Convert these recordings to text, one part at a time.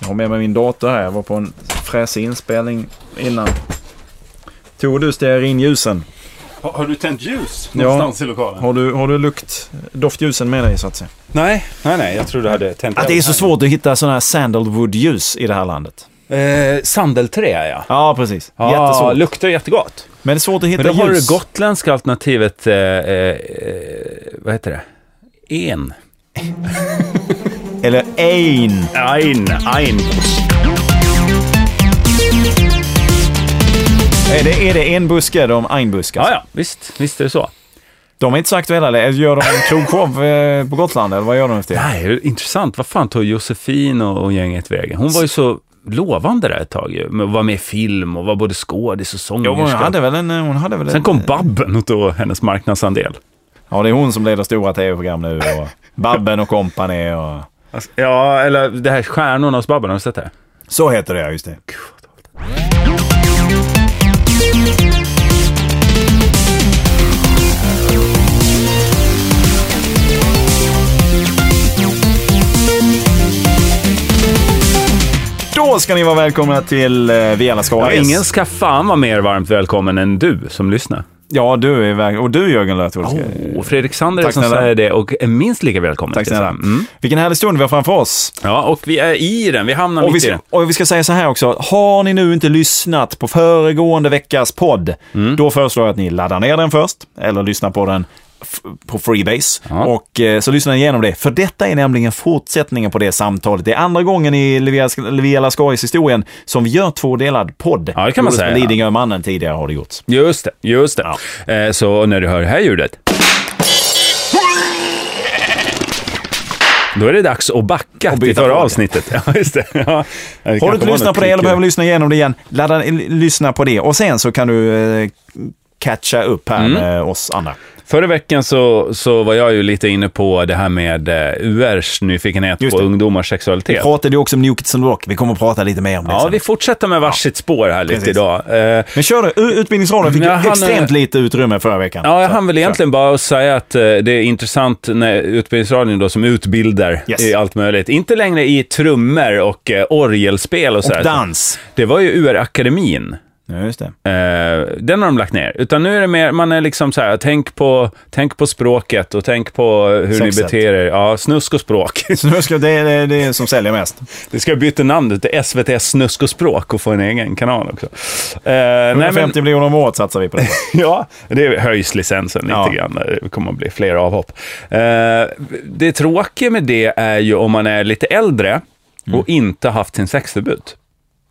Jag har med mig min dator här. Jag var på en fräsig inspelning innan. Tog du stearinljusen? Har, har du tänt ljus någonstans i lokalen? Har du, har du lukt, doftljusen med dig så att säga? Nej, nej, nej. Jag trodde du hade tänt Att det är så svårt att hitta sådana här sandalwood-ljus i det här landet. Eh, sandelträ, ja. Ja, precis. Ja, Jättesvårt. luktar jättegott. Men det är svårt att hitta Men då har du ljus. det gotländska alternativet, eh, eh, vad heter det? En. Eller ein. Ein, ein. Är det, är det en buske de ein buskar? Ja, ja, visst, visst är det så. De är inte så aktuella. eller? Gör de en krogshow eh, på Gotland eller vad gör de efter det? Nej, intressant. Vad fan tog Josefin och, och gänget vägen? Hon var ju så lovande där ett tag ju. Men var med i film och var både skådis och Jo, hon sångerska. hade väl en... eh, Hon hade väl Sen en, kom Babben och tog hennes marknadsandel. Ja, det är hon som leder stora tv-program nu. Och Babben och kompani och... Ja, eller det här Stjärnorna hos Babben, har du sett det? Så heter det, ja. Just det. Då ska ni vara välkomna till eh, Vi alla ska Ja, vara Ingen ska fan vara mer varmt välkommen än du som lyssnar. Ja, du är väl... Och du Jörgen Lötvold. ska- Och Fredrik Sander Oh. Tack som snälla. säger det och är minst lika välkommen. Tack till snälla. Oh, det. Mm. Vilken härlig stund vi har framför oss. Ja, och vi är i den, vi hamnar Och vi, mitt i ska, den. och vi ska säga så här också. Har ni nu inte lyssnat på föregående veckas podd, Mm. då föreslår jag att ni laddar ner den först, eller lyssnar på den f- på Freebase. Ja. Och eh, så lyssnar ni igenom det. För detta är nämligen fortsättningen på det samtalet. Det är andra gången i Leviela Skojs historien som vi gör tvådelad podd. Ja, det kan man Gjordes på säga. Lidingömannen tidigare har det gjorts. Just det, just det. Eh, Så när du hör det här ljudet. Då är det dags att backa till byta förra fråga. avsnittet. Ja, just det. Ja, det Har du kanske inte var lyssnat något på det eller klick- behöver lyssna igenom det igen, ladda, eh, lyssna på det. Och sen så kan du eh, catcha upp Mm. här med oss andra. Förra veckan så, så var jag ju lite inne på det här med eh, URs nyfikenhet Just på det. ungdomars sexualitet. Vi pratade ju också om New Kids on the Block. Vi kommer att prata lite mer om det Ja, sen. vi fortsätter med varsitt spår här lite liksom. Precis. idag. Eh, Men kör du. U- Utbildningsradion fick Men jag ju hann, extremt eh, lite utrymme förra veckan. Ja, jag Så, hann väl kör. egentligen bara säga att eh, det är intressant när Utbildningsradion då, som utbildar Yes. i allt möjligt. Inte längre i trummor och eh, orgelspel och Och sådär. dans. Det var ju UR-akademin. Ja, just det. Eh, den har de lagt ner. Utan nu är det mer, man är liksom så här, tänk på, tänk på språket och tänk på hur Sexet. ni beter er. Ja, snusk och språk. Så nu ska det, det, är det som säljer mest. Det ska byta namn till SVT Snusk och språk och få en egen kanal också. Eh, nej, men- 150 miljoner om året satsar vi på det. Ja, det höjs licensen lite Ja. grann. Det kommer att bli fler avhopp. Eh, det tråkiga med det är ju om man är lite äldre och inte haft sin sexdebut.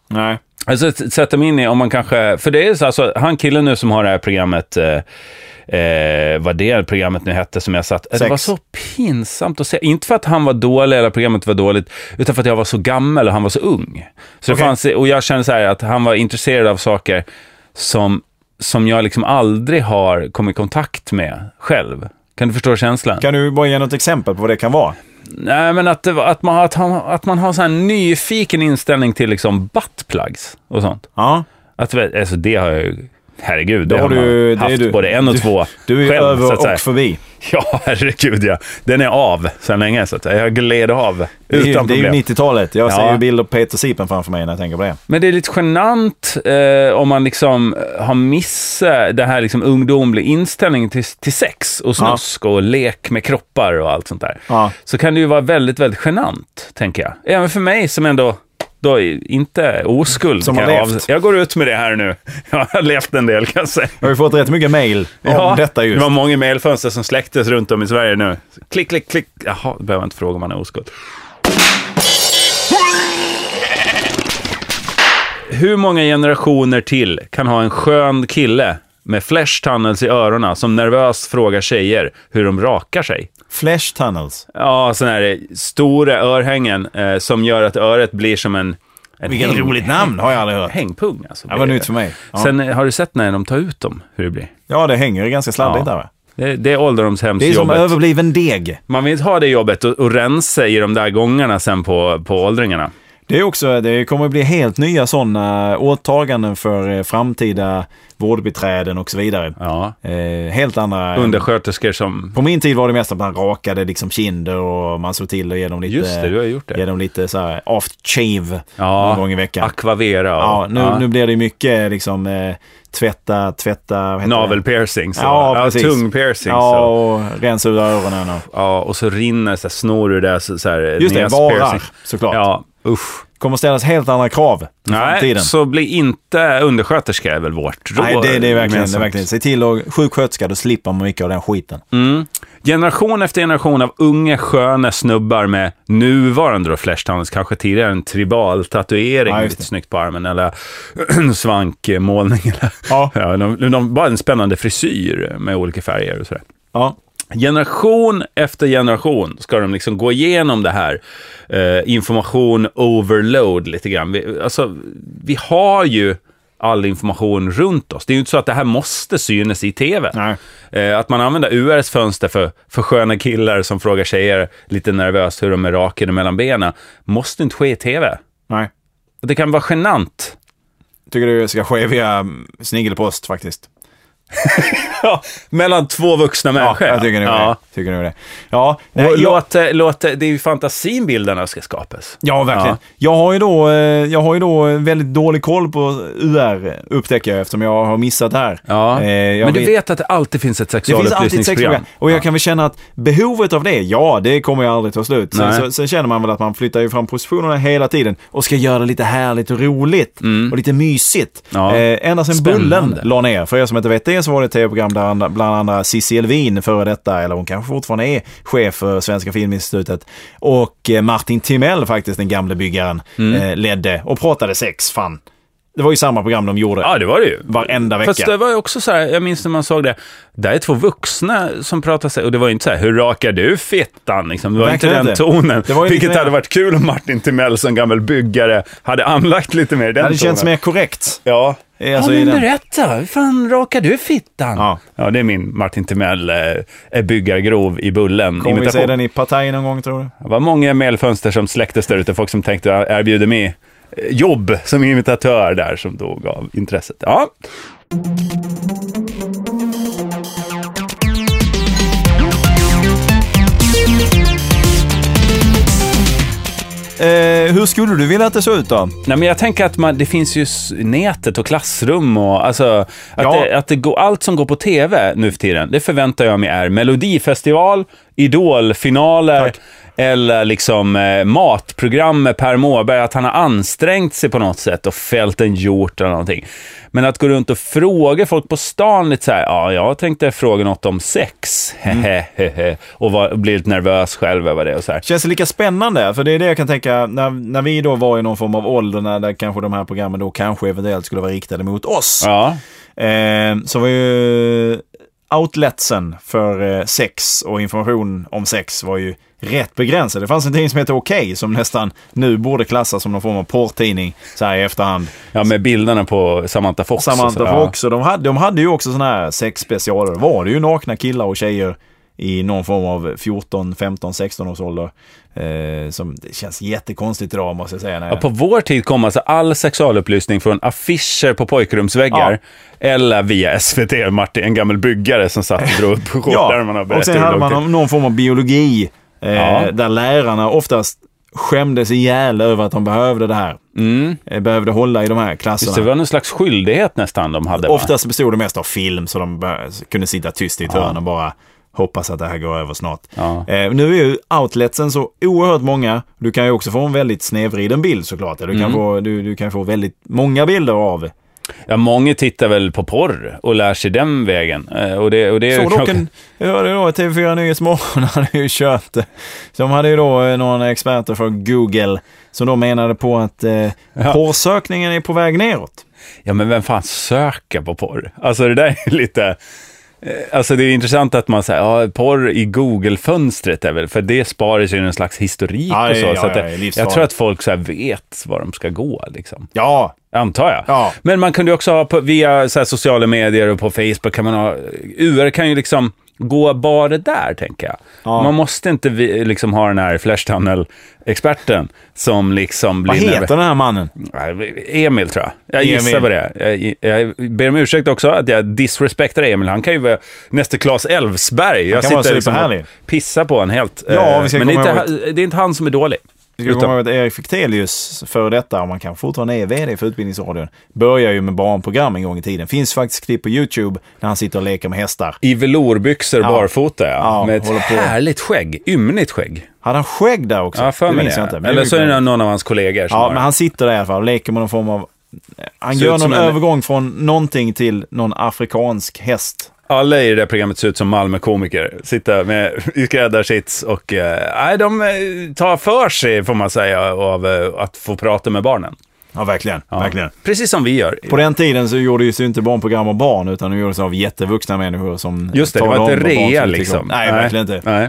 Nej. Alltså s- sätta mig in i om man kanske, för det är så alltså, han killen nu som har det här programmet, eh, eh, vad det programmet nu hette som jag satt, det Sex. var så pinsamt att se. Inte för att han var dålig eller programmet var dåligt, utan för att jag var så gammal och han var så ung. Så det Okej. fanns, och jag kände så här att han var intresserad av saker som, som jag liksom aldrig har kommit i kontakt med själv. Kan du förstå känslan? Kan du bara ge något exempel på vad det kan vara? Nej, men att, det var- att, man, har- att, han, att man har så här nyfiken inställning till liksom buttplugs och sånt. Ja. Att, väl- alltså det har jag ju... Herregud, det Då har, har du- det man haft är du. både en och två Du är själv, så att över säga. och förbi. Ja, herregud ja. Den är av sedan länge, så att säga. Jag gled av Det är, utan ju- det är ju problem. 90-talet. Jag Ja. ser ju bilder på Peter Sipen framför mig när jag tänker på det. Men det är lite genant eh, om man liksom har missat det här liksom ungdomliga inställningen till, till sex och snusk och lek med kroppar och allt sånt där. Ja. Så kan det ju vara väldigt, väldigt genant, tänker jag. Även för mig som ändå då är inte oskuld. Som kan har jag, levt. jag går ut med det här nu. Jag har levt en del, kan jag säga. Jag har ju fått rätt mycket mail om detta just. Det var många mejlfönster som släcktes runt om i Sverige nu. Klick, klick, klick. Jaha, då behöver jag inte fråga om man är oskuld. Hur många generationer till kan ha en skön kille med flash tunnels i öronen som nervöst frågar tjejer hur de rakar sig? Flash tunnels. Ja, sådana här eh, stora örhängen eh, som gör att öret blir som en... en Vilket häng- roligt namn har jag aldrig hört. Hängpung alltså. Det var nytt för mig. Ja. Sen eh, har du sett när de tar ut dem, hur det blir? Ja, det hänger ju ganska sladdigt där va? Det, det är Det är som ålderdomshemsjobbet. överbliven deg. Man vill inte ha det jobbet och, och rensa i de där gångarna sen på, på åldringarna. Det, är också, det kommer att bli helt nya sådana åtaganden för eh, framtida vårdbiträden och så vidare. Ja. Eh, helt andra... Undersköterskor som... På min tid var det mest att man rakade liksom kinder och man såg till att ge dem lite, Just det, du har gjort det. Ge dem lite så här aftershave Ja. någon gång i veckan. Aquavera och... ja, nu, nu blir det mycket liksom eh, tvätta, tvätta... vad heter det? Navelpiercings och Ja, ja, precis. tungpiercings. Ja, och, och rensa ur öronen och... ja, och så rinner så här, snor ur det där, så, så här, Just det, näspiercing. varar såklart. Ja, usch. Kommer ställas helt andra krav i Nej, framtiden. så bli inte undersköterska är väl vårt råd. Nej, det, det är verkligen, Mm. det är gemensamt. verkligen. Se till att sjuksköterska, då slipper man mycket av den skiten. Generation efter generation av unga sköna snubbar med nuvarande då flashtandens, kanske tidigare en tribal tatuering Ja, just lite det. snyggt på armen eller svankmålning eller Ja. Ja, de, de, bara en spännande frisyr med olika färger och sådär. Ja, Generation efter generation ska de liksom gå igenom det här eh, information overload lite grann. Vi, alltså, vi har ju all information runt oss. Det är ju inte så att det här måste synas i tv. Nej. Eh, att man använder URs fönster för, för sköna killar som frågar tjejer lite nervöst hur de är rakade mellan benen måste inte ske i tv. nej. Och det kan vara genant. Tycker du ska ske via mm, snigelpost faktiskt. mellan två vuxna Ja, människor. jag tycker nog Ja. det. Tycker nog det. Ja, nej, Och jag, Låt, eh, låt, eh, det är ju fantasin bilderna ska skapas. ja, verkligen. Ja. Jag har ju då, eh, jag har ju då väldigt dålig koll på UR, upptäcker jag, eftersom jag har missat det här. Ja, Eh, jag men du vet, att det alltid finns ett Det finns alltid sexualupplysningsprogram. sexprogram. Och jag kan väl känna att behovet av det, ja, det kommer ju aldrig ta slut. Sen, Nej. så, sen känner man väl att man flyttar ju fram positionerna hela tiden och ska göra det lite härligt och roligt och lite mysigt. Mm. Ja. Eh, ända sedan Spännande. Bullen la ner. För er som inte vet det så var det ett tv-program där andra, bland andra Cissi Elvin, före detta, eller hon kanske fortfarande är chef för Svenska Filminstitutet, och eh, Martin Timell, faktiskt den gamle byggaren, Mm. eh, ledde och pratade sex. Fan, det var ju samma program de gjorde Ja, det var det ju. varenda vecka. Fast det var ju också så här, jag minns när man såg det, där är två vuxna som pratar sig, och det var ju inte så här, hur rakar du fittan? Liksom, det var Verkligen inte den inte. tonen. Det var ju vilket lite mer- hade varit kul om Martin Timell som gammal byggare hade anlagt lite mer i den det hade tonen. känts mer korrekt. Ja. Eh, alltså i den- berätta, hur fan rakar du fittan? Ja, Ja. det är min Martin Timell, eh, är byggargrov i Bullen. Kommer vi se imitation. den i Partaj någon gång tror du? Det var många mejlfönster som släcktes där ute, folk som tänkte erbjuder mig eh, jobb som imitatör där, som då gav intresset. Ja. Eh, hur skulle du vilja att det såg ut då? Nej, men jag tänker att man, det finns ju s- nätet och klassrum och alltså, att, Ja. det, att det går, allt som går på tv nu för tiden, det förväntar jag mig är melodifestival, idolfinaler eller liksom eh, matprogram med Per Mårberg, att han har ansträngt sig på något sätt och fällt en hjort eller någonting. Men att gå runt och fråga folk på stan lite så här, ja, jag tänkte fråga något om sex, Mm. hehehe, och, var, och bli lite nervös själv över det och så här. Känns det lika spännande? För det är det jag kan tänka, när, när vi då var i någon form av ålder när där kanske de här programmen då kanske eventuellt skulle vara riktade mot oss. Ja, Eh, så var ju outletsen för eh, sex och information om sex var ju rätt begränsade. Det fanns en tidning som hette Okej som nästan nu borde klassas som någon form av porrtidning så här i efterhand. ja, med bilderna på Samantha Fox. och så- Samantha ja. Fox. och De hade, de hade ju också sådana här sexspecialer. Var det ju nakna killar och tjejer i någon form av 14, 15, 16 års ålder. Eh, som det känns jättekonstigt idag måste jag säga. När Ja, jag, på vår tid kom alltså all sexualupplysning från affischer på pojkrumsväggar eller via SVT, Martin, en gammal byggare som satt och drog upp skjortärmarna och och sen berättade hur hade lång man tid. någon, någon form av biologi. Eh, Ja. Där lärarna oftast skämdes ihjäl över att de behövde det här. Eh, behövde hålla i de här klasserna. Så Mm. det var någon slags skyldighet nästan de hade. va? Oftast bestod det mest av film så de bör- kunde sitta tyst i ett hörn och bara hoppas att det här går över snart. Ja. Eh, nu är ju outletsen så oerhört många. Du kan ju också få en väldigt snedvriden bild såklart. Du kan, Mm. få, du, du kan få väldigt många bilder av. Ja, många tittar väl på porr och lär sig den vägen. Eh, Och det, och det är Såg ju- dock en, jag hörde då TV4 Nyhetsmorgon hade ju kört, eh, de hade ju då eh, några experter från Google som då menade på att eh, porrsökningen är på väg neråt. Ja, men vem fan söker på porr? Alltså det där är ju lite... eh, Alltså det är intressant att man säger, ja, porr i Google-fönstret är väl, för det sparas ju någon slags historik Ja, och så. ja, så att ja, det, ja, jag livsfarligt. tror att folk så här vet var de ska gå liksom. Ja, Antar jag. Ja. Men man kunde ju också ha på, via så här sociala medier och på Facebook kan man ha... UR kan ju liksom gå bara där, tänker jag. Ja. Man måste inte vi- liksom ha den här Flash Tunnel-experten som liksom blir... Vad nervö- heter den här mannen? Nej, Emil tror jag. Jag gissar Emil. på det. Jag, jag ber om ursäkt också att jag disrespektar Emil. Han kan ju vara nästa Claes Elfsberg. Jag liksom kan vara superhärlig. och pissar på honom helt. Ja, eh, vi ska Men det är, komma inte, han- det är inte han som är dålig. Vi ska komma ihåg att Erik Fichtelius, före detta, om man kan fortfarande är VD för Utbildningsradion, börjar ju med barnprogram en gång i tiden. Finns faktiskt klipp på YouTube när han sitter och leker med hästar. I velourbyxor barfota, ja. Ja, Med ett håller på. härligt skägg. Ymnigt skägg. Hade han skägg där också? Ja, för mig minns det. jag inte. men Eller mycket så är möjligt. det någon av hans kollegor som Ja, har. men han sitter där i alla fall och leker med någon form av... Han Ser gör ut som någon en- övergång från någonting till någon afrikansk häst. Alla i det där programmet ser ut som Malmökomiker. Sitta med i skräddarsits och... eh, Nej, de eh, tar för sig, får man säga, av eh, att få prata med barnen. Ja, verkligen. Ja. verkligen. Precis som vi gör. På den tiden så gjordes ju inte barnprogram av barn, utan det gjordes av jättevuxna människor som Just det, det talade var om inte vad barn skulle rea tycka om. liksom. Nej, verkligen inte. Nej.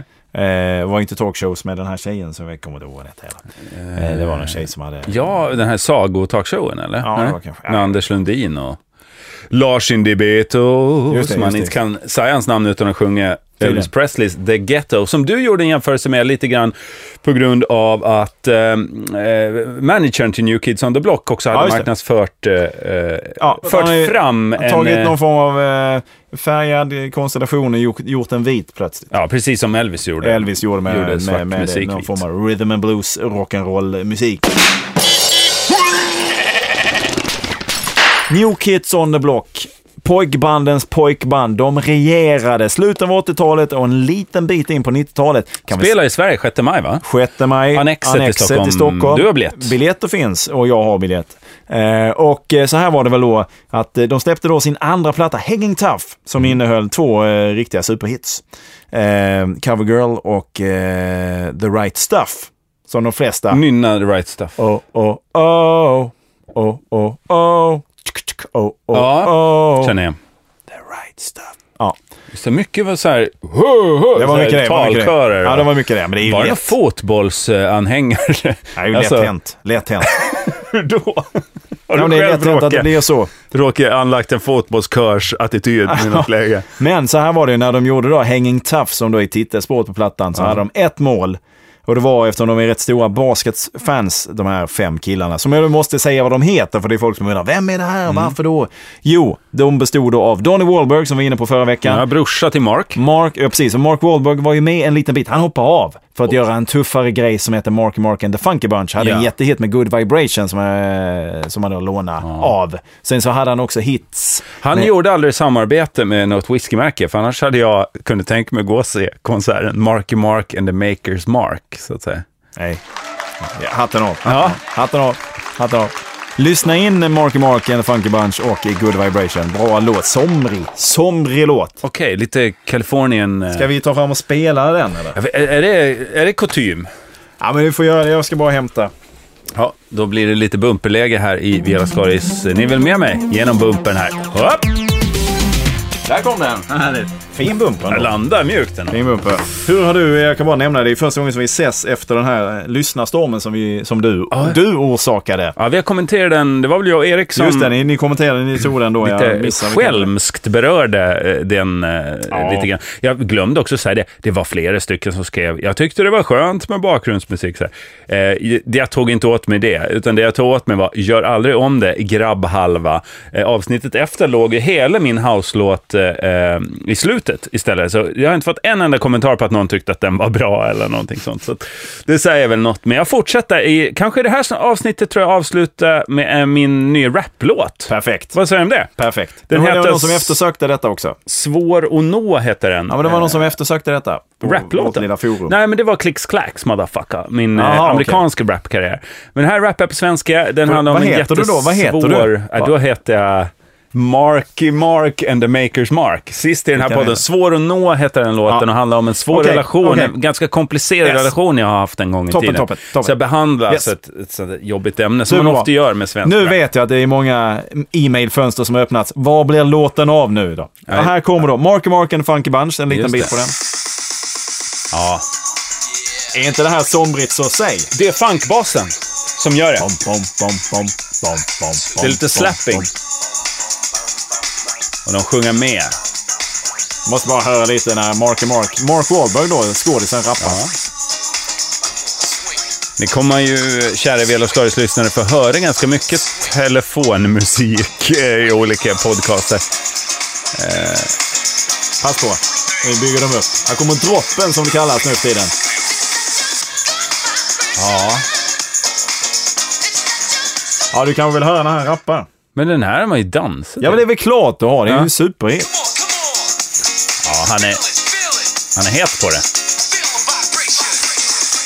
Eh, det var inte talkshows med den här tjejen som jag kommer inte ihåg vad hon hette heller. Eh, det var någon tjej som hade... Ja, den här sagotalkshowen eller? Ja, det Nej. var kanske- Med Anders Lundin och Lars Indibeto. Just det, Som man just inte det. kan säga hans namn utan att sjunga Tydligen. Elvis Presleys The Ghetto. Som du gjorde en jämförelse med lite grann på grund av att eh, eh, managern till New Kids on the Block också hade Ja, just det. marknadsfört eh, eh, Ja, fört han har ju- fram en... Tagit eh, någon form av eh, färgad eh, konstellation och gjort, gjort en vit plötsligt. Ja, precis som Elvis gjorde. Elvis gjorde med, Gjorde svart med, med, musik någon vit. form av rhythm and blues rock'n'roll musik. New Kids on the Block. Pojkbandens pojkband. De regerade slutet av 80-talet och en liten bit in på 90-talet. Kan vi Spelar i Sverige 6 maj, va? 6 maj. Annexet till Stockholm. Du har biljett. Biljetter finns och jag har biljett. Eh, och eh, så här var det väl då att eh, de släppte då sin andra platta, Hanging Tough, Mm. som innehöll två eh, riktiga superhits. Eh, Cover Girl och eh, The Right Stuff, som de flesta... Nynna the right stuff. Oh, oh, oh, oh, oh, oh, tsk, tsk, oh, oh, Ja, oh, Känner jag. The Right Stuff. Ja, Så mycket var så här... "Hö, hö", det så var här mycket det. var mycket talkörer det. Ja, och- det var mycket det. Men det är ju Var det någon lätt. fotbollsanhängare? Alltså, Det är ju lätt hänt. Lätt hänt. hur då? Ja, Har du men det är lätt själv hänt att det råkat, blir så. råkat anlagt en fotbollskörsattityd i något läge? Men så här var det ju när de gjorde då Hanging Tough som då är titelspåret på plattan så hade de ett mål. Och det var eftersom de är rätt stora basketfans, de här fem killarna, som jag då måste säga vad de heter för det är folk som undrar, vem är det här, Mm. varför då? Jo, de bestod då av Donny Wahlberg som vi var inne på förra veckan. Ja, brorsa till Mark. Mark, ja precis, och Mark Wahlberg var ju med en liten bit. Han hoppade av för att göra en tuffare grej som heter Marky Mark and the Funky Bunch. Hade Ja. en jättehit med Good Vibration som, eh, som han då lånade av. Sen så hade han också hits. Han gjorde aldrig samarbete med något whiskymärke, för annars hade jag kunnat tänka mig att gå och se konserten Marky Mark and the Makers Mark, så att säga. Nej. Ja, hatten av. Hatten, Ja. av. hatten av. Hatten av. Lyssna in Marky Mark and the Funky Bunch och i Good Vibration. Bra låt. Somrig. Somrig låt. Okej, lite Kalifornien... eh, Ska vi ta fram och spela den eller? Är, är, det, är det kutym? Ja, men vi får göra det. Jag ska bara hämta. Ja, då blir det lite bumperläge här i Vela Skaris. Ni är väl med mig genom bumpern här? Hopp! Där kom den. Härligt. Fin bumper. Jag ändå. landar mjukt den. Fin bumper. Hur har du, jag kan bara nämna det, det är första gången som vi ses efter den här eh, lyssnarstormen som, vi, som du, du orsakade. Ja, vi har kommenterat den. Det var väl jag och Erik som Just det, ni, ni kommenterade, ni tog den då. jag lite missade. skälmskt berörde eh, den eh, Ja. lite grann. Jag glömde också säga det. Det var flera stycken som skrev. Jag tyckte det var skönt med bakgrundsmusik. Så här. Eh, det jag tog inte åt mig det, utan det jag tog åt mig var gör aldrig om det, grabbhalva. Eh, avsnittet efter låg ju hela min house-låt eh, eh, i slutet istället. Så jag har inte fått en enda kommentar på att någon tyckte att den var bra eller någonting sånt. Så att, det säger väl något. Men jag fortsätter. I, kanske i det här avsnittet tror jag avsluta med eh, min nya raplåt. Perfekt. Vad säger du om det? Perfekt. Den Den det var heter någon som s- eftersökte detta också. Svår att nå heter den. Ja, men det var någon som eftersökte detta. På vårt Raplåten? lilla forum. Nej, men det var Clicks Clacks, motherfucker. Min Aha, eh, okej. amerikanska rapkarriär. Men den här rappar på svenska. Den handlar om vad en heter du då? Vad heter jättesvår- du? Ja, då heter jag Marky Mark and the Makers Mark. Sist i den här Vilken är podden. det? Svår att nå heter den låten Ja. och handlar om en svår Okej, relation. okej. En ganska komplicerad Yes. relation jag har haft en gång i Toppen, tiden. toppen, toppen. Så jag behandlar Yes. så ett, ett sånt där jobbigt ämne som Du, man bra. ofta gör med svenska Nu vet jag att det är många e-mailfönster som har öppnats. Vad blir låten av nu då? Ja, här kommer då Marky Mark and Funky Bunch, en liten Just bit det. på den. Ja. Är inte det här somrigt så säg? Det är funkbasen som gör det. Bom, bom, bom, bom, bom, bom, Det är lite bom, slapping. bom. Och de sjunger med. Måste bara höra lite när Marky Mark, Mark Wahlberg då, skådisen, rappar. Det kommer man ju, kära Vela och Slöjs lyssnare, få höra ganska mycket telefonmusik eh, i olika podcaster. Pass på, nu bygger de upp. Här kommer droppen som det kallas nu för tiden. Ja. Ja, du kanske vill höra när han rappar? Men den här har man ju dansat Ja, men det är väl klart du har. Det är Ja. ju superhit. Ja, han är, han är het på det.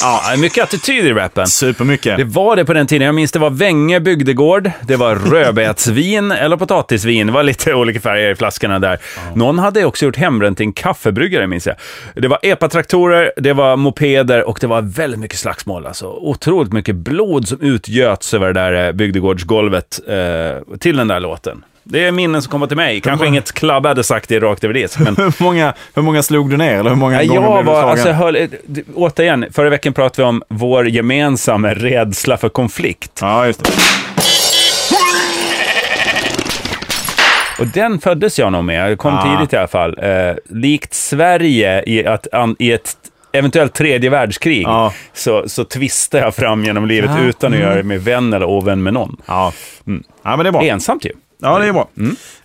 Ja, det är mycket attityd i rappen. Supermycket. Det var det på den tiden. Jag minns det var Vänge bygdegård, det var rödbetsvin eller potatisvin. Det var lite olika färger i flaskorna där. Någon hade också gjort hembränt till en kaffebryggare, minns jag. Det var epatraktorer, det var mopeder och det var väldigt mycket slagsmål. Alltså, otroligt mycket blod som utgöts över det där eh, bygdegårdsgolvet eh, till den där låten. Det är minnen som kommer till mig. Kanske inget klubb hade sagt det rakt över disk, men Hur många, hur många slog du ner? Eller hur många Ja, gånger jag blev du var, slagen? alltså, jag höll, d- återigen, förra veckan pratade vi om vår gemensamma rädsla för konflikt. Ja, just det. Och den föddes jag nog med, jag kom Ah. tidigt i alla fall. Eh, likt Sverige i, att, an, i ett eventuellt tredje världskrig, Ja. så, så tvistar jag fram genom livet Ah, utan att göra det med vän eller ovän med någon. Ja. Mm. ja, men det är bra. Ensamt ju. Ja, det är bra.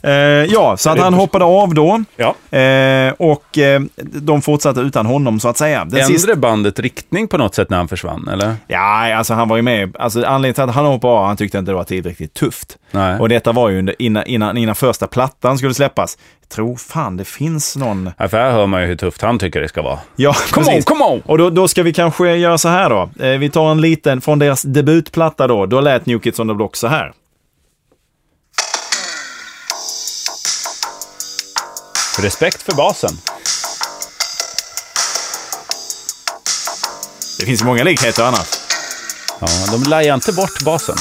Eh, ja, så att Mm. Det är han bra. hoppade av då. Ja. Eh, och eh, de fortsatte utan honom, så att säga. Den Ändrade sista- bandet riktning på något sätt när han försvann, eller? Ja, alltså han var ju med. Alltså anledningen till att han hoppade av, han tyckte inte det var tillräckligt tufft. Nej. Och detta var ju under, innan, innan, innan första plattan skulle släppas. Jag tror fan det finns någon... Ja, för här hör man ju hur tufft han tycker det ska vara. Ja, Come on, precis. come on! Och då, då ska vi kanske göra så här då. Eh, vi tar en liten, från deras debutplatta då. Då lät New Kids on the Block så här. Respekt för basen. Det finns ju många likheter annars. Ja, de lajar inte bort basen.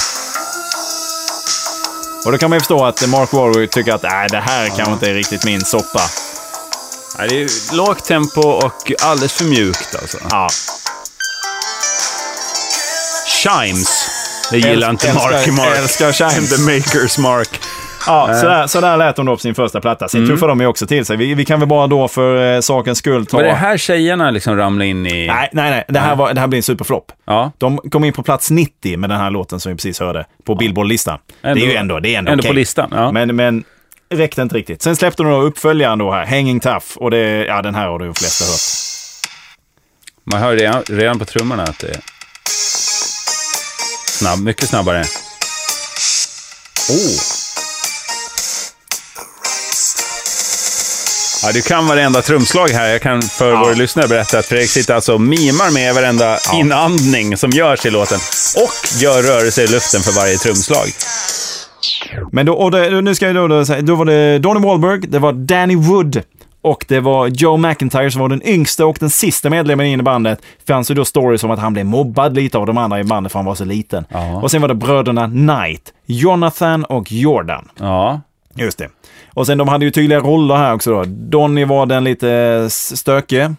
Och då kan man ju förstå att Mark Warwick tycker att nej, det här kanske inte är riktigt min soppa. Ja, det är ju lågt tempo och alldeles för mjukt alltså. Ja, Chimes. Det gillar inte Älskar- Marky Mark. älskar Chimes. The Makers Mark. Eh. ja så, där, så där lät de då på sin första platta. Sen Mm. tuffade de ju också till sig. Vi, vi kan väl bara då för eh, sakens skull ta... Var det här tjejerna liksom ramlade in i... Nej, nej, nej. Det här, var, det här blir en superflopp. Ja. De kom in på plats 90 med den här låten som vi precis hörde på Billboard-listan. Det är Ändå- ju ändå, det är ändå, ändå på okej. listan, ja. Men, men räckte inte riktigt. Sen släppte de då uppföljaren då här, Hanging Tough. Och det, ja, den här har de flesta hört. Man hör redan, redan på trummorna att det är... Snabb, mycket snabbare. Oh. Ja, du kan varenda trumslag här. Jag kan för våra lyssnare berätta att Fredrik sitter alltså och mimar med varenda inandning som görs i låten. Och gör rörelser i luften för varje trumslag. Men då, och det, nu ska jag då, då, säga- då var det Donny Wahlberg, det var Danny Wood och det var Joe McIntyre som var den yngsta och den sista medlemmen in i bandet. Fanns ju då stories om att han blev mobbad lite av de andra i bandet för han var så liten. Ja. Och sen var det bröderna Knight, Jonathan och Jordan. Ja. Just det. Och sen de hade ju tydliga roller här också då. Donny var den lite eh, stökige.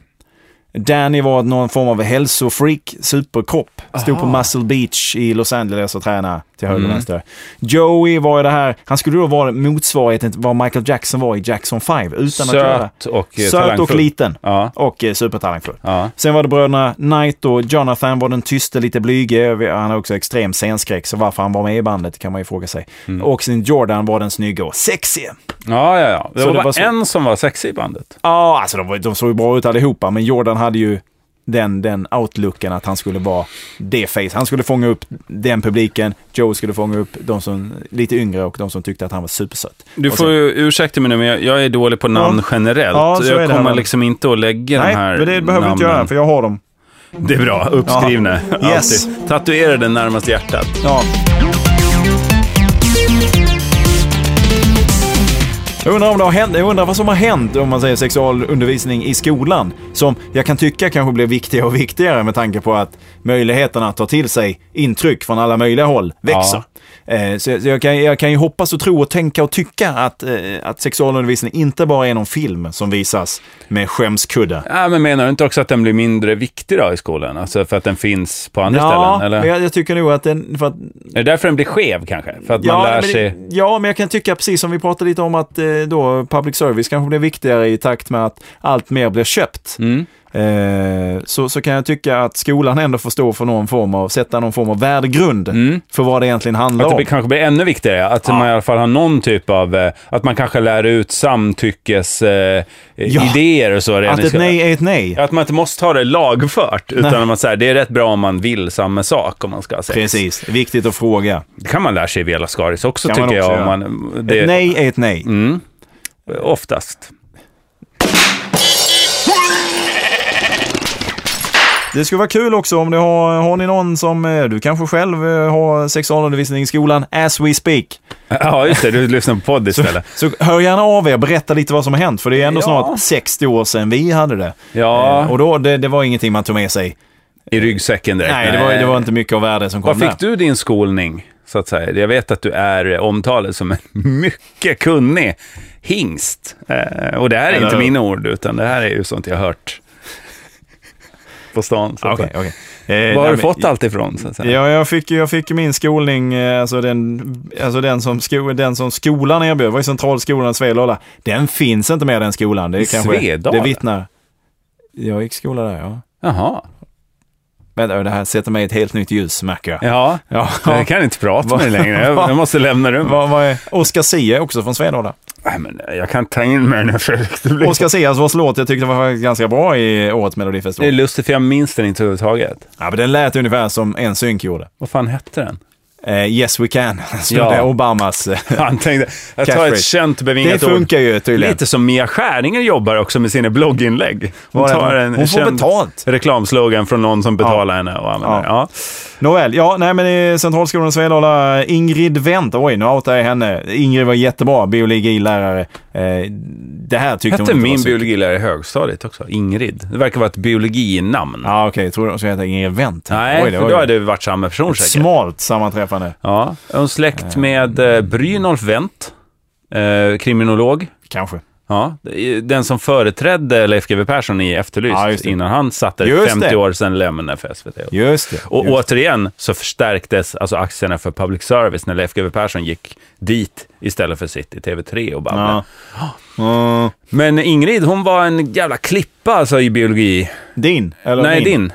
Danny var någon form av hälsofreak, superkropp. Stod på Muscle Beach i Los Angeles och tränade till höger och Mm. vänster. Joey var ju det här, han skulle då vara motsvarigheten till vad Michael Jackson var i Jackson 5. Utan att göra. Söt och eh, Söt och talangfull. liten. Ja. Och eh, supertalangfull. Ja. Sen var det bröderna Knight och Jonathan var den tyste, lite blyge. Han har också extrem scenskräck, så varför han var med i bandet kan man ju fråga sig. Mm. Och sen Jordan var den snygga och sexiga. Ja, ja, ja. Det Så var det bara var så. en som var sexig i bandet. Ja, alltså de, var- de såg ju bra ut allihopa, men Jordan hade ju den, den outlooken att han skulle vara det face. Han skulle fånga upp den publiken, Joe skulle fånga upp de som lite yngre och de som tyckte att han var supersöt. Du Och får sen- ju ursäkta mig nu, men jag, jag är dålig på namn generellt. Ja, så är jag det, kommer men- liksom inte att lägga Nej, de här men det behöver du namnen. inte göra, för jag har dem. Det är bra. Uppskrivna. Ja. Yes. Alltid. Tatuera den närmast hjärtat. Ja. Jag undrar, om det har hänt, jag undrar vad som har hänt om man säger sexualundervisning i skolan. Som jag kan tycka kanske blir viktigare och viktigare med tanke på att möjligheterna att ta till sig intryck från alla möjliga håll växer. Ja. Eh, Så jag, så jag, kan, jag kan ju hoppas och tro och tänka och tycka att, eh, att sexualundervisning inte bara är någon film som visas med skämskudde. Ja, Äh, men menar du inte också att den blir mindre viktig då i skolan? Alltså för att den finns på andra Ja, ställen? men Eller? jag, jag tycker nog att den... För att, Är det därför den blir skev kanske? För att man ja, lär men det- sig... ja, men jag kan tycka, precis som vi pratade lite om, att eh, då public service kanske blir viktigare i takt med att allt mer blir köpt. Mm. Eh, så, så kan jag tycka att skolan ändå får stå för någon form av, sätta någon form av värdegrund Mm. för vad det egentligen handlar Att det om. blir- kanske blir ännu viktigare, att man i alla fall har någon typ av, eh, att man kanske lär ut samtyckes eh, idéer och så. liksom- redan Att i ett skolan. nej är ett nej. Att man inte måste ha det lagfört, utan att man säger det är rätt bra om man vill samma sak om man ska säga. Precis, viktigt att fråga. Det kan man lära sig i Vela Skaris också Kan man tycker jag. också Om göra. man, det, Ett nej är ett nej. Mm. Oftast. Det skulle vara kul också om ni har, har ni någon som, eh, du kanske själv eh, har sexualundervisning i skolan, as we speak. Ja, just det. Du lyssnar på podd istället. Så hör gärna av er, berätta lite vad som har hänt, för det är ändå Ja. snart 60 år sedan vi hade det. Eh, Ja, Och då, det, det var ingenting man tog med sig. i ryggsäcken direkt. Nej, det var, det var inte mycket av värde som Var kom fick där. du din skolning, så att säga? Jag vet att du är eh, omtalad som en mycket kunnig hingst. Eh, och det här är Eller inte hur? mina ord, utan det här är ju sånt jag har hört på stan. Så att Okej, säga. okej. Eh, Var har nej, du men- fått allt ifrån, så att säga? Ja, jag fick, jag fick min skolning, eh, alltså den, alltså den, som, sko, den som skolan erbjöd, Det var ju Centralskolan i Svedala. Den finns inte mer den skolan. Det är I kanske, Svedala? Det vittnar. Jag gick skola där, ja. Jaha. Vänta, det här sätter mig i ett helt nytt ljus märker jag. Ja, Ja. jag kan inte prata med dig längre. Jag, jag måste lämna rummet. Vad, vad är? Oscar Sia är också från Svedala. Nej, men jag kan ta in mig nu Fredrik. Det, blir... Oscar Sias vars låt jag tyckte var faktiskt ganska bra i årets det är Melodifestival. lustigt, för jag minns den inte överhuvudtaget. Ja, men den lät ungefär som NSYNC gjorde. Vad fan hette den? Eh, yes we can, så Ja. det är Obamas. eh, Han tänkte, jag tar Catchphrase. ett känt Det bevingat ord. funkar ju tydligen. Lite som Mia Skäringer jobbar också med sina blogginlägg. Hon Var är tar hon? en Hon får känd betalt. reklamslogan från någon som betalar henne och använder Ja. den. ja. Nåväl, ja, nej men i Centralskolan i Svedala, Ingrid Wendt, oj nu outar jag henne. Ingrid var jättebra biologilärare. Eh, det här tyckte hon Hette inte var min så- biologilärare i högstadiet också, Ingrid. Det verkar vara ett biologinamn. Ja okej, tror du hon skulle heta Ingrid Wendt? Nej, oj, det för var då ju hade det varit samma person säkert. smalt sammanträffande. Ja, är hon släkt med eh, Brynolf Wendt, eh, kriminolog. Kanske. Ja, den som företrädde Leif GW Persson i Efterlyst Ja, just det. innan han satte Just 50 det. år sedan lämnade för SVT. Just det. Och just. återigen så förstärktes alltså aktierna för public service när Leif GW Persson gick dit istället för sitt i TV3 och bara. Ja. Mm. Men Ingrid, hon var en jävla klippa alltså i biologi. Din? Eller Nej, min? din.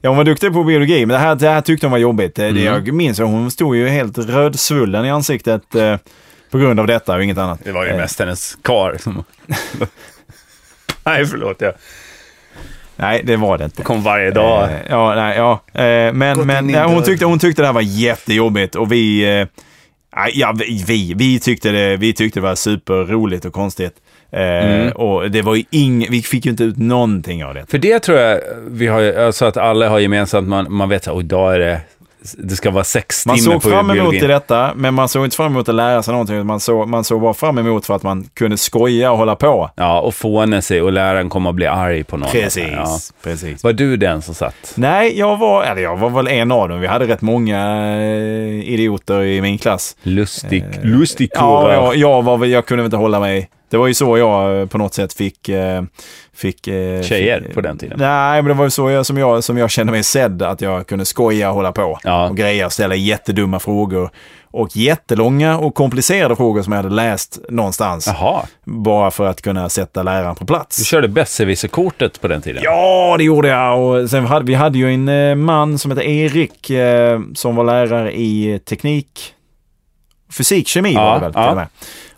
Ja, hon var duktig på biologi, men det här, det här tyckte hon var jobbigt. Eh, Det- Mm. det Jag minns att hon stod ju helt rödsvullen i ansiktet eh, på grund av detta och inget annat. Det var ju Eh, mest hennes kar som... Nej, förlåt. Jag Nej, det var det inte. kom varje dag. Eh, Ja, nej, ja. Eh, Men, Gått men in i nej, hon, dörren. tyckte, hon tyckte det här var jättejobbigt och vi... eh, nej, Ja, vi, vi, vi, tyckte det, vi tyckte det var superroligt och konstigt. Eh, Mm. Och det var ju ing, vi fick ju inte ut någonting av det. För det tror jag vi har, alltså att alla har gemensamt, man, man vet att idag är det, det ska vara sex Man timmar såg på fram emot biologin. i detta, men man såg inte fram emot att lära sig någonting. Man såg, man såg bara fram emot för att man kunde skoja och hålla på. Ja, och fåna sig och läraren kommer att bli arg på någon. Ja. precis. Var du den som satt? Nej, jag var, eller jag var väl en av dem. Vi hade rätt många eh, idioter i min klass. Lustig, lustig Eh, Ja, kurva. jag, jag, var, väl- jag kunde väl inte hålla mig. Det var ju så jag eh, på något sätt fick... eh, fick eh, Tjejer fick- på den tiden. Nej, men det var ju så jag, som, jag, som jag kände mig sedd, att jag kunde skoja och hålla på Ja. och greja och ställa jättedumma frågor. Och jättelånga och komplicerade frågor som jag hade läst någonstans. Jaha, Bara för att kunna sätta läraren på plats. du körde besserwisser-kortet på den tiden? Ja, det gjorde jag. Och sen hade, vi hade ju en eh, man som hette Erik eh, som var lärare i teknik, fysik, kemi Ja, var det väl till ja. och med.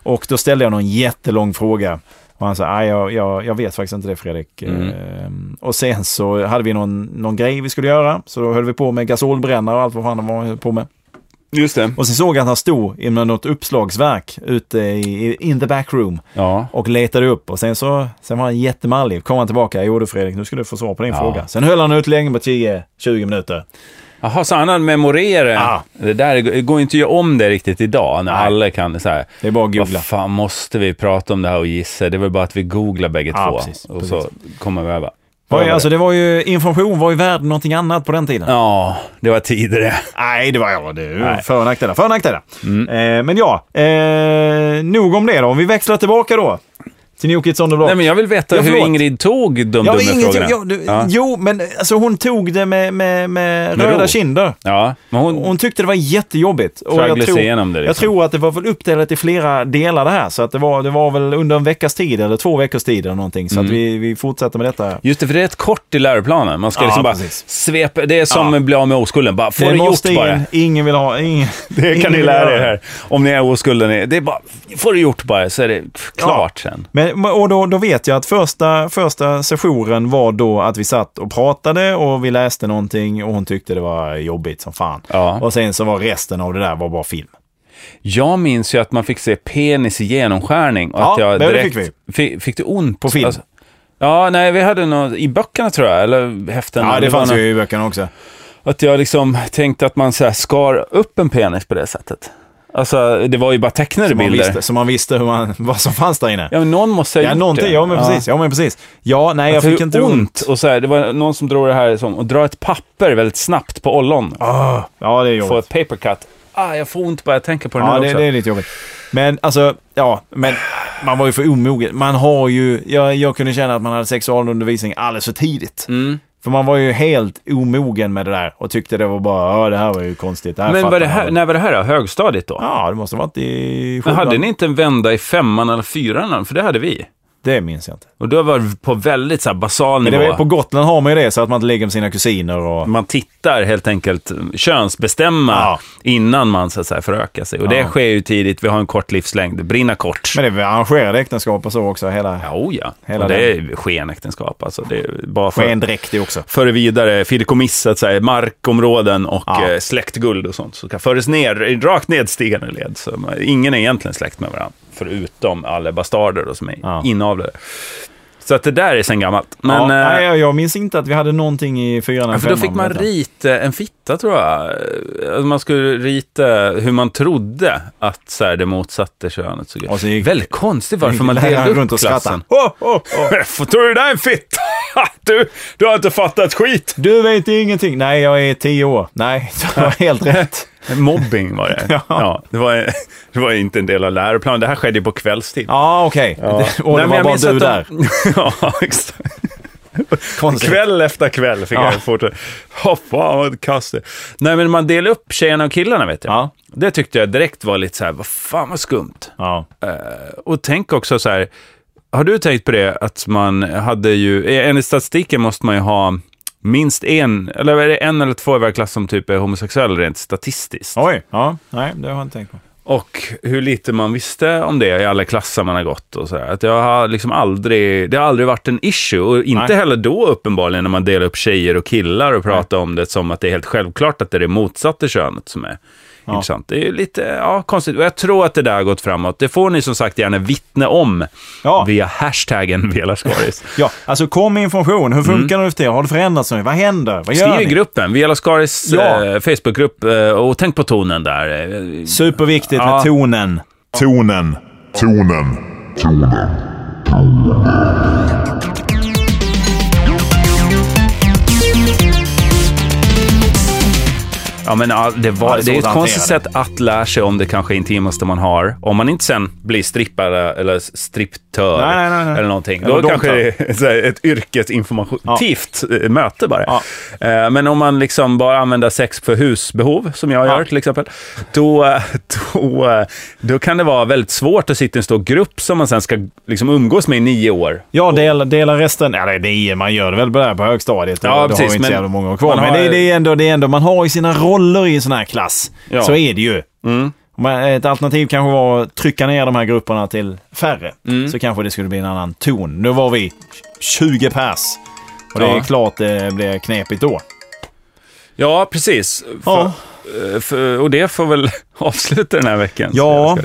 Och då ställde jag någon jättelång fråga. Och han sa, nej jag, jag, jag vet faktiskt inte det Fredrik. Mm. Eh, och sen så hade vi någon, någon grej vi skulle göra. Så då höll vi på med gasolbrännare och allt vad fan de var höll på med. just det. Och sen såg jag att han stod i något uppslagsverk ute i, i- in the back room Ja. och letade upp och sen så sen var han jättemallig. Kom han tillbaka. Jo du Fredrik, nu ska du få svar på din Ja. fråga. Sen höll han ut länge på 10-20 minuter. Jaha, så han hade memorerat. Ja. Det där det går ju inte att göra om det riktigt idag, när alla kan så här. Det är bara att googla. Vad fan måste vi prata om det här och gissa? Det är väl bara att vi googlar bägge Ja, två. precis, och så kommer vi över. Var ju, alltså, det var ju, information var ju värd någonting annat på den tiden. Ja, det var tider det. Nej, det var ja, det för och nackdelar. För och nackdelar. Eh, men ja, eh, nog om det då. Om vi växlar tillbaka då. Till New Kids on the Block. Nej, men jag vill veta Ja, hur förlåt. Ingrid tog de Ja, dumma ingenting, frågorna. ja, du, ja. Jo, men alltså, hon tog det med, med, med, Med röda ro. kinder. Ja, men hon, Hon tyckte det var jättejobbigt. Och Tragglade sig igenom det, liksom. jag tror att det var väl uppdelat i flera delar det här. Så att det, var, det var väl under en veckas tid eller två veckors tid eller någonting. Så att Mm. vi, vi fortsatte med detta. Just det, för det är rätt kort i läroplanen. Man ska Ja, liksom bara precis. svepa. Det är som Ja. att bli av med oskulden. Bara, få det, måste gjort in. bara. Ingen vill ha... Ingen, Det ingen kan ni vill lära ha er här. Om ni är oskulden. är- Det är bara, får det gjort bara, så är det pff, klart sen. Men, och då, då vet jag att första, första sessionen var då att vi satt och pratade och vi läste någonting och hon tyckte det var jobbigt som fan. Ja. Och sen så var resten av det där var bara film. Jag minns ju att man fick se penis i genomskärning. Och Ja, att jag det direkt, fick Fick, fick du ont? På film. ja, nej, vi hade något i böckerna tror jag, eller häften. Ja, eller det vad fanns nå- ju i böckerna också. Att jag liksom tänkte att man så här skar upp en penis på det sättet. Alltså, det var ju bara tecknade Så man, bilder. visste, så man visste hur man, vad som fanns där inne. Ja, men någon måste ha Ja, gjort någonting. det. Ja, men precis. Ja, men precis. Ja, nej, jag Alltså, fick hur inte ont. Och så här, det var någon som drog det här som, och dra ett papper väldigt snabbt på ollon. Ja, det är Få jobbigt. ett paper cut. Ah, jag får ont bara jag tänker på det Ja, nu det, också. det är lite jobbigt. Men alltså, ja, men man var ju för omogen. Man har ju, jag, jag kunde känna att man hade sexualundervisning alldeles för tidigt. Mm. För man var ju helt omogen med det där och tyckte det var bara, ja det här var ju konstigt. Det här Men fattar var det man här, väl." när var det här då? Högstadiet då? Ja, det måste ha varit i men hade sjuan. ni inte en vända i femman eller fyran? För det hade vi. Det minns jag inte. Och då var det på väldigt så här basal Men det nivå. var, på Gotland har man ju det så att man inte ligger med sina kusiner och... Man tittar helt enkelt, eh, könsbestämma Ja. innan man så att säga förökar sig. Och det Ja. sker ju tidigt, vi har en kort livslängd, brinna kort. Men det är väl arrangerade äktenskap och så också, hela Ja, oh ja. Hela och det är skenäktenskap alltså. Det är bara för... skendräkt det också. före vidare fideikommiss, så att säga, markområden och Ja. eh, släktguld och sånt. Så ska föras ner i rakt nedstigande led. Så man, ingen är egentligen släkt med varandra, förutom alla bastarder då, som är Ja. inavlade. Så att det där är sen gammalt. Men, ja, eh, nej, jag- jag minns inte att vi hade någonting i fyran eller för då femman. fick med man detta. rita en fitta, tror jag. Alltså, man skulle rita hur man trodde att så här, det motsatte könet såg Och ut. så gick- Väldigt konstigt varför man Läraren delade upp runt och klassen. skrattade. Oh, oh, oh. Chef, tror du det där är en fitta? Du, du har inte fattat skit! Du vet ingenting. Nej, jag är tio år. Nej, du har helt rätt. Mobbing var det. ja. det, var, det var inte en del av läroplanen. Det här skedde ju på kvällstid. Ja, okej. Och det Nej, men var jag bara minns du att de- där. ja, exakt. Konstigt. Kväll efter kväll fick Ja. jag fortsätta. Åh, fan vad kast det. Nej, men man delade upp tjejerna och killarna, vet jag. Ja. Det tyckte jag direkt var lite så här, vad fan vad skumt. Ja. Och tänk också så här, har du tänkt på det att man hade ju, eh, enligt statistiken måste man ju ha minst en, eller är det en eller två i varje klass som typ är homosexuell rent statistiskt? Oj. Ja. Nej, det har jag inte tänkt på. Och hur lite man visste om det i alla klasser man har gått och så här. Att jag har liksom aldrig, det har aldrig varit en issue och inte Nej. heller då uppenbarligen när man delar upp tjejer och killar och pratar om det som att det är helt självklart att det är det motsatta könet som är intressant. Det är ju lite ja, konstigt och jag tror att det där har gått framåt. Det får ni som sagt gärna vittna om Ja. via hashtaggen velaskaris. Ja, alltså kom med information. Hur funkar det efter er? Har det förändrats nu? Vad händer? Vad gör Mm. Skriv i ni? gruppen, Vela Skaris Ja. eh, Facebookgrupp eh, och tänk på tonen där. Eh, Superviktigt Ja. med tonen. Tonen. Tonen. Tonen. Ja, men all- det, var, Ja, det är det, svårt är att ett konstigt hantera sätt att lära sig om det kanske intimaste man har. Om man inte sen blir strippare eller stripptör Nej, nej, nej, nej. eller någonting. Då Eller kanske domtör. det är så här ett yrkesinformativt eh, möte bara. Ja. Eh, Men om man liksom bara använder sex för husbehov, som jag gör Ja. till exempel, då, eh, då, eh, då kan det vara väldigt svårt att sitta i en stor grupp som man sen ska liksom umgås med i nio år. Ja, dela, dela resten. Ja, det är nio. Man gör det väl där på högstadiet. Ja, Då- då precis, har vi inte men så jävla många år kvar. man Men har- det, det, är ändå, det är ändå, man har ju sina roller i en sån här klass. Ja. Mm. Så är det ju. Men Ett alternativ kanske var att trycka ner de här grupperna till färre. Mm. Så kanske det skulle bli en annan ton. Nu var vi 20 pers. Och det Ja. är klart det blir knepigt då. Ja, precis. Ja. För, eh, för, och det får väl avsluta den här veckan. Ja.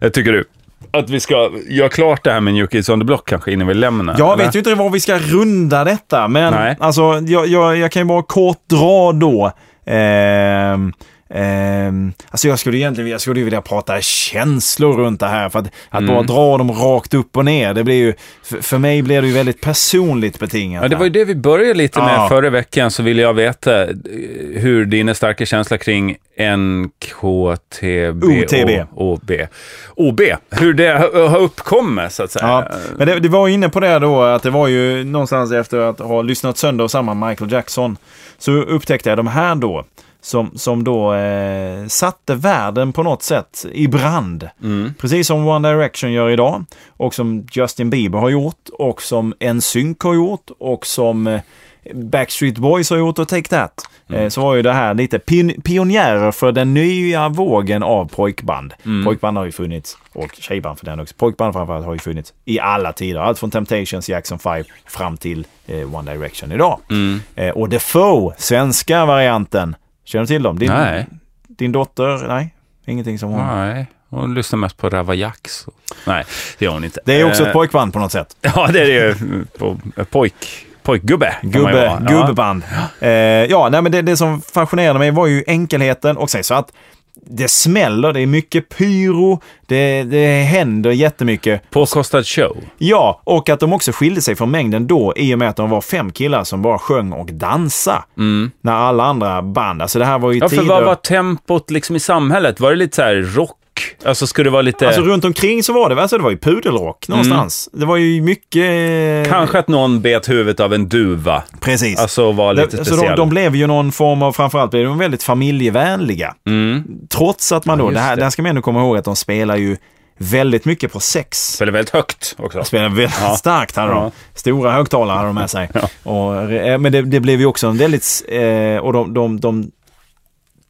Jag Eh, tycker du. Att vi ska göra klart det här med New Kids on the Block kanske innan vi lämnar. Jag eller? vet ju inte var vi ska runda detta, men Nej. alltså, jag, jag, jag kan ju bara kort dra då. ehm, Ehm, alltså jag skulle egentligen jag skulle ju vilja prata känslor runt det här. För att, att Mm. bara dra dem rakt upp och ner, det blir ju, för, för mig blir det ju väldigt personligt betingat. Ja, det var ju här. det vi började lite med Ja. förra veckan, så ville jag veta eh, hur din starka känsla kring NKTB OTB. OB, OB, hur det har har uppkommit så att säga. Ja, men det, det var ju inne på det då, att det var ju någonstans efter att ha lyssnat sönder och samman Michael Jackson, så upptäckte jag de här då, som, som då eh, satte världen på något sätt i brand. Precis som One Direction gör idag, och som Justin Bieber har gjort, och som NSYNC har gjort, och som eh, Backstreet Boys har gjort och Take That. Mm. Eh, Så var ju det här lite pin- pionjärer för den nya vågen av pojkband. Mm. Pojkband har ju funnits, och tjejband för den också. Pojkband framförallt har ju funnits i alla tider. Allt från Temptations, Jackson 5 fram till eh, One Direction idag. Mm. Eh, och The Foe, svenska varianten. Känner du till dem? Din, Nej. din dotter? Nej, ingenting som hon... Nej, hon lyssnar mest på Ravajax. Nej, det gör hon inte. Det är också Eh, ett pojkband på något sätt. Ja, det är det ju. Po- Pojk, pojkgubbe. kan man ju Gubbe, vara. Ja. gubbeband. Ja, eh, ja nej, men det, det som fascinerade mig var ju enkelheten och sen så att det smäller, det är mycket pyro, det, det händer jättemycket. Påkostad show. Ja, och att de också skilde sig från mängden då i och med att de var fem killar som bara sjöng och dansade. När alla andra band, alltså det här var ju Mm. Ja, för tider... vad var tempot liksom i samhället? Var det lite så här rock? Alltså, skulle det vara lite... Alltså runt omkring så var det, alltså det var ju pudelrock någonstans. Det var ju mycket... Mm. Kanske att någon bet huvudet av en duva. Precis. Alltså var lite Det- så speciell. de, de blev ju någon form av, framförallt blev de väldigt familjevänliga. Trots att man då, Mm. det just här, det. det här ska man ändå komma ihåg att de spelar ju väldigt mycket på sex. Spelade väldigt högt också. De spelar väldigt starkt hade de. Ja. Stora högtalare hade de med sig. Och, eh, men det, det blev ju också en väldigt, eh, och de, de, de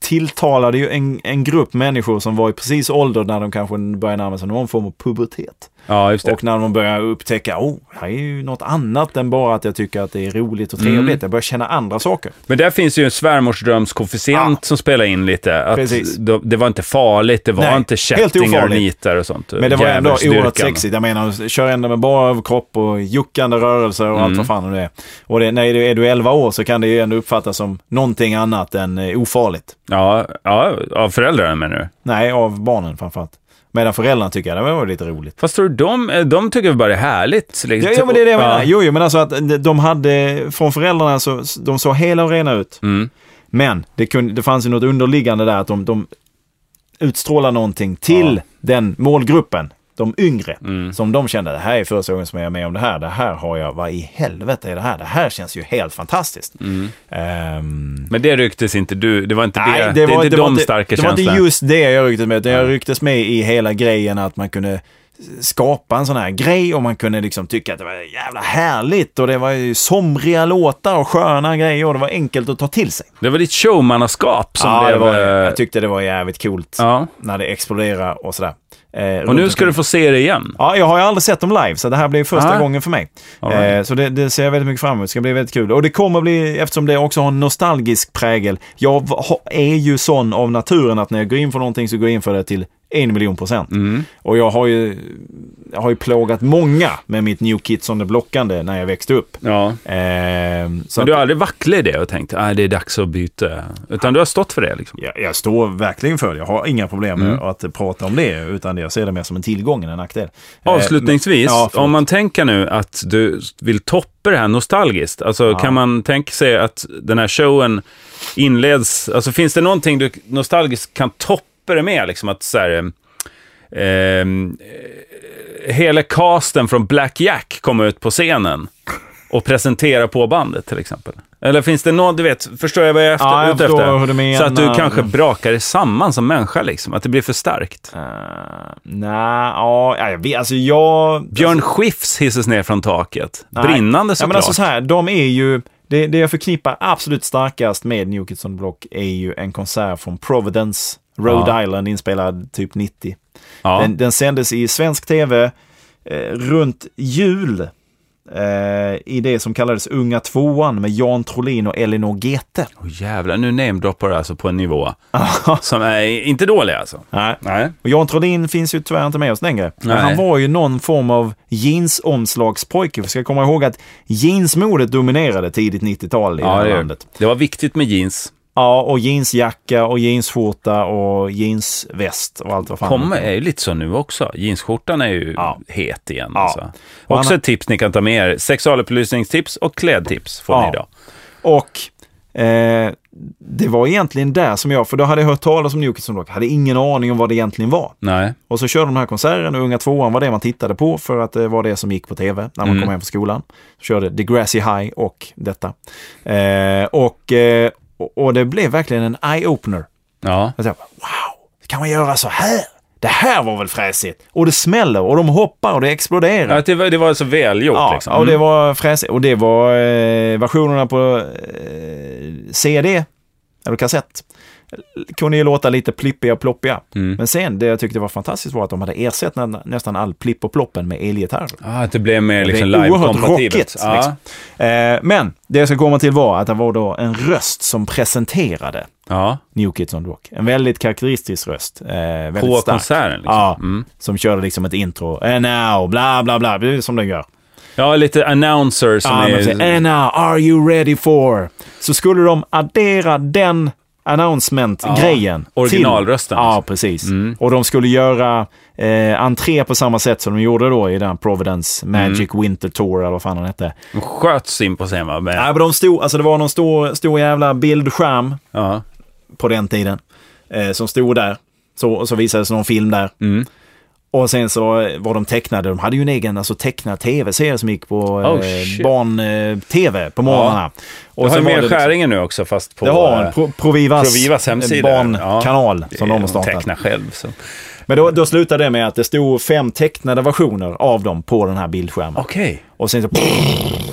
tilltalade ju en, en grupp människor som var i precis ålder när de kanske började närma sig någon form av pubertet. Ja, just det. Och när de börjar upptäcka, oh, det här är ju något annat än bara att jag tycker att det är roligt och trevligt. Mm. Jag börjar känna andra saker. Men där finns ju en svärmorsdrömskoefficient som spelar in lite. Att Precis. de, det var inte farligt, det var Nej, inte helt kättingar och ofarligt. nitar och sånt. Men det var ändå Djävulsdyrkan. oerhört sexigt. Jag menar, kör ändå med bara överkropp och juckande rörelser och allt vad fan det är. Och det, när du, är du 11 år så kan det ju ändå uppfattas som någonting annat än eh, ofarligt. Ja, ja, av föräldrarna menar du? Nej, av barnen framförallt. Medan föräldrarna tycker att det var lite roligt. Fast tror du de, eh, de tycker väl bara det är härligt? liksom. Ja, ja, men det är det jag Ja. menar. Jo, jo, men alltså att de hade, från föräldrarna så, de såg hela och rena ut. Men det, kunde, det fanns ju något underliggande där att de, de utstrålar någonting till den målgruppen, de yngre, som de kände, det här är första gången som jag är med om det här, det här har jag, vad i helvete är det här? Det här känns ju helt fantastiskt. Ehm, Men det rycktes inte du, det var inte Nej, det, det, är inte var de starka Det var inte känslorna. just det jag rycktes med, utan jag rycktes med i hela grejen att man kunde skapa en sån här grej och man kunde liksom tycka att det var jävla härligt och det var ju somriga låtar och sköna grejer och det var enkelt att ta till sig. Det var ditt showmannaskap som ja, blev... det var, eh, jag tyckte det var jävligt coolt ja. när det exploderade och sådär. Eh, Och runt nu ska omkring. du få se det igen. Ja, jag har ju aldrig sett dem live, så det här blir första Ah. gången för mig. right. Eh, så det, det ser jag väldigt mycket fram emot. Det ska bli väldigt kul. Och det kommer bli, eftersom det också har en nostalgisk prägel. Jag v- ha- är ju sån av naturen att när jag går in för någonting så går jag in för det till en miljon procent. Mm. Och jag har ju, jag har ju plågat många med mitt New Kids on the Blockande när jag växte upp. Ja. Ehm, så Men att, du har aldrig vacklat i det och tänkt att det är dags att byta? Utan du har stått för det liksom? jag, jag står verkligen för det. Jag har inga problem med Mm. att prata om det, utan jag ser det mer som en tillgång än en nackdel. Eh, Avslutningsvis, men- ja, förlåt. om man tänker nu att du vill toppa det här nostalgiskt, alltså kan man tänka sig att den här showen inleds, alltså finns det någonting du nostalgiskt kan toppa det med? Liksom att så här, eh, eh, hela casten från Black Jack kommer ut på scenen och presenterar på bandet till exempel. Eller finns det någon, du vet, förstår jag vad jag är efter, Ja, jag ute förstår efter? hur du menar. Så att du kanske brakar samman som människa, liksom, att det blir för starkt. Eh, Nej, ja, jag vet, alltså jag... Björn Skifs hissas ner från taket. Nej. Brinnande ja, såklart. men alltså så här, de är ju... Det, det jag förknippar absolut starkast med New Kids on the Block är ju en konsert från Providence, Rhode Ja. Island, inspelad typ 90. ja. Den, den sändes i svensk tv eh, runt jul eh, i det som kallades Unga tvåan med Jan Trolin och Elinor Gete. Åh, jävlar, nu namedroppar du alltså på en nivå som är inte dålig alltså. Nej. Nej. Och Jan Trolin finns ju tyvärr inte med oss längre. Men Nej. han var ju någon form av jeansomslagspojke. Vi ska komma ihåg att jeansmodet dominerade tidigt 90-tal i det Ja, här det, är- landet. det var viktigt med jeans. Ja, och jeansjacka och jeansskjorta och jeansväst och allt vad fan. Kommer är ju lite så nu också. Jeansskjortan är ju Ja. het igen. Ja. Alltså. Och Också han- ett tips ni kan ta med er. Sexualupplysningstips och klädtips får ni Ja. idag. Och eh, det var egentligen där som jag, för då hade jag hört talas om Newkids som Rock, hade ingen aning om vad det egentligen var. Nej. Och så körde de här konserten och Unga tvåan var det man tittade på för att det var det som gick på tv när man kom hem från skolan. Så körde Degrassi High och detta. Eh, och, eh, och- och det blev verkligen en eye-opener. Ja. Jag tänkte, wow, kan man göra så här? Det här var väl fräsigt? Och det smäller och de hoppar och det exploderar. Ja, det, var, det var så välgjort. Ja, liksom. och det Mm. var fräsigt. Och det var eh, versionerna på eh, CD, eller kassett, kunde ju låta lite plippiga och ploppiga. Mm. Men sen, det jag tyckte var fantastiskt var att de hade ersatt nä- nästan all plipp och ploppen med elgitarr. Ah, att det blev mer liksom det är oerhört live-kompatibelt. rockigt. Ja. Liksom. Eh, men det jag ska komma till var att det var då en röst som presenterade Ja. New Kids on the Block. En väldigt karaktäristisk röst. Eh, väldigt På stark. konserten. Liksom. Ja, som körde liksom ett intro. And now, bla bla bla, det är som den gör. ja, lite announcer som Ja, Ah, men är... säger, Anna, are you ready for? Så skulle de addera den announcement-grejen. till- originalrösten, Ja, Mm. alltså. precis. Och de skulle göra eh, entré på samma sätt som de gjorde då i den Providence Magic Winter Tour, eller vad fan den hette. De sköts in på scen, va? Med, Nej, men de stod, alltså det var någon stor, stor jävla bildskärm ja. på den tiden eh, som stod där. Så, och så visades någon film där. Mm. Och sen så eh, var de tecknade, de hade ju en egen alltså, tecknad tv-serie som gick på Oh, eh, shit. barn-tv på morgnarna. Och Jag har ju sen var med det liksom- Skäringen nu också, fast på... Det har en eh, Pro Provivas, eh, Provivas hemsida. barnkanal Ja, som de har startat. Teckna själv. Så. Okej. Men då, då slutade det med att det stod fem tecknade versioner av dem på den här bildskärmen. Och sen så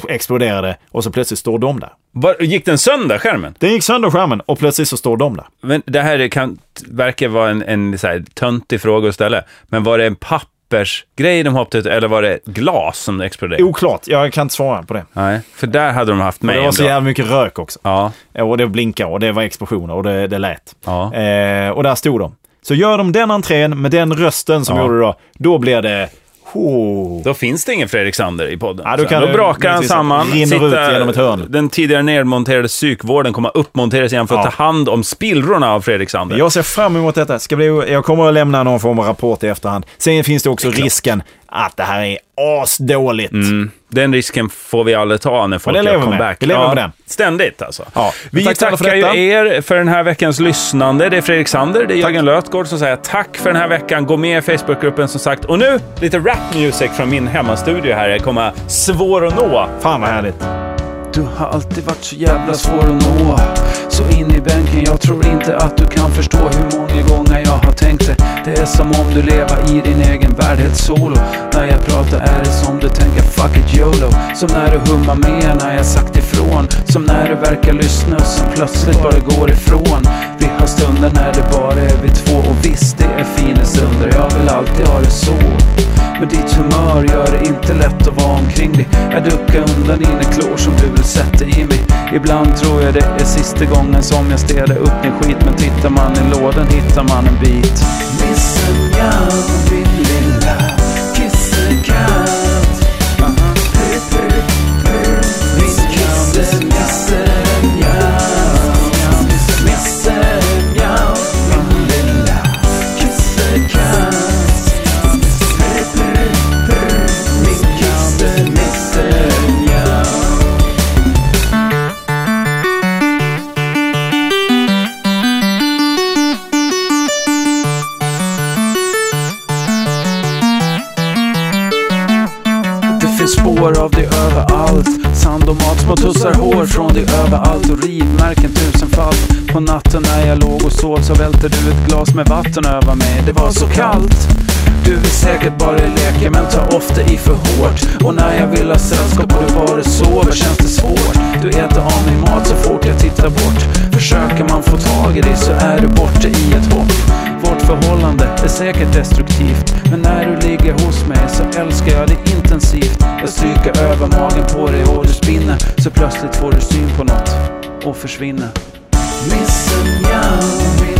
exploderade och så plötsligt står de där. Var, gick den sönder, skärmen? Den gick sönder skärmen och plötsligt så står de där. Men det här kan, t- verkar vara en, en så här, töntig fråga att ställa, men var det en pappersgrej de hoppade ut eller var det glas som exploderade? Oklart, jag kan inte svara på det. Nej, för där hade de haft med Det var så ändå. jävla mycket rök också. Ja, Eh, Och det blinkade och det var explosioner och det, det lät. Ja. Eh, och där stod de. Så gör de den entrén med den rösten som Ja. gjorde det då, då blir det... Oh. då finns det ingen Fredrik Sander i podden. Ja, då Så kan då det- brakar han precis, samman, rinner ut genom ett hörn. den tidigare nedmonterade psykvården kommer att uppmonteras igen för att Ja. ta hand om spillrorna av Fredrik Sander. Jag ser fram emot detta. Ska bli, jag kommer att lämna någon form av rapport i efterhand. Sen finns det också risken att det här är asdåligt. Mm. Den risken får vi aldrig ta när folk Men det gör lever vi med. comeback. Vi lever med den. Ständigt alltså. Ja. Vi Tack snälla tackar för ju detta. er för den här veckans lyssnande. Det är Fredrik Sander, det är Jörgen Lötgård som säger tack för den här veckan. Gå med i Facebookgruppen som sagt. Och nu lite rap music från min hemmastudio här. Det kommer svår att nå. Fan vad härligt. Du har alltid varit så jävla svår att nå Så in i bänken, jag tror inte att du kan förstå hur många gånger jag har tänkt det Det är som om du lever i din egen värld helt solo När jag pratar är det som du tänker fuck it YOLO Som när du hummar med när jag sagt ifrån Som när du verkar lyssna och sen plötsligt bara går ifrån Vi har stunder när det bara är vi två och visst det är fina stunder Jag vill alltid ha det så men ditt humör gör det inte lätt att vara omkring dig Jag duckar undan dina klor som du vill sätta i mig Ibland tror jag det är sista gången som jag städar upp din skit Men tittar man i lådan hittar man en bit Missen jag, min lilla kissekatt Miss kissen, missen jag Missen jag, min lilla kissekatt Mixen, mixen, ja Det finns spår av dig överallt Sand och mat, små tussar hår från dig överallt Och rivmärken tusenfalt På natten när jag låg och sov så välte du ett glas med vatten över mig Det var så kallt Du vill säkert bara leka men ta ofta i för hårt Och när jag vill ha sällskap och du bara sover känns det svårt Du äter av min mat så fort jag tittar bort Försöker man få tag i dig så är du borta i ett hopp vårt förhållande är säkert destruktivt Men när du ligger hos mig så älskar jag dig intensivt Jag stryker över magen på dig och du spinner Så plötsligt får du syn på något och försvinner Missen jag, min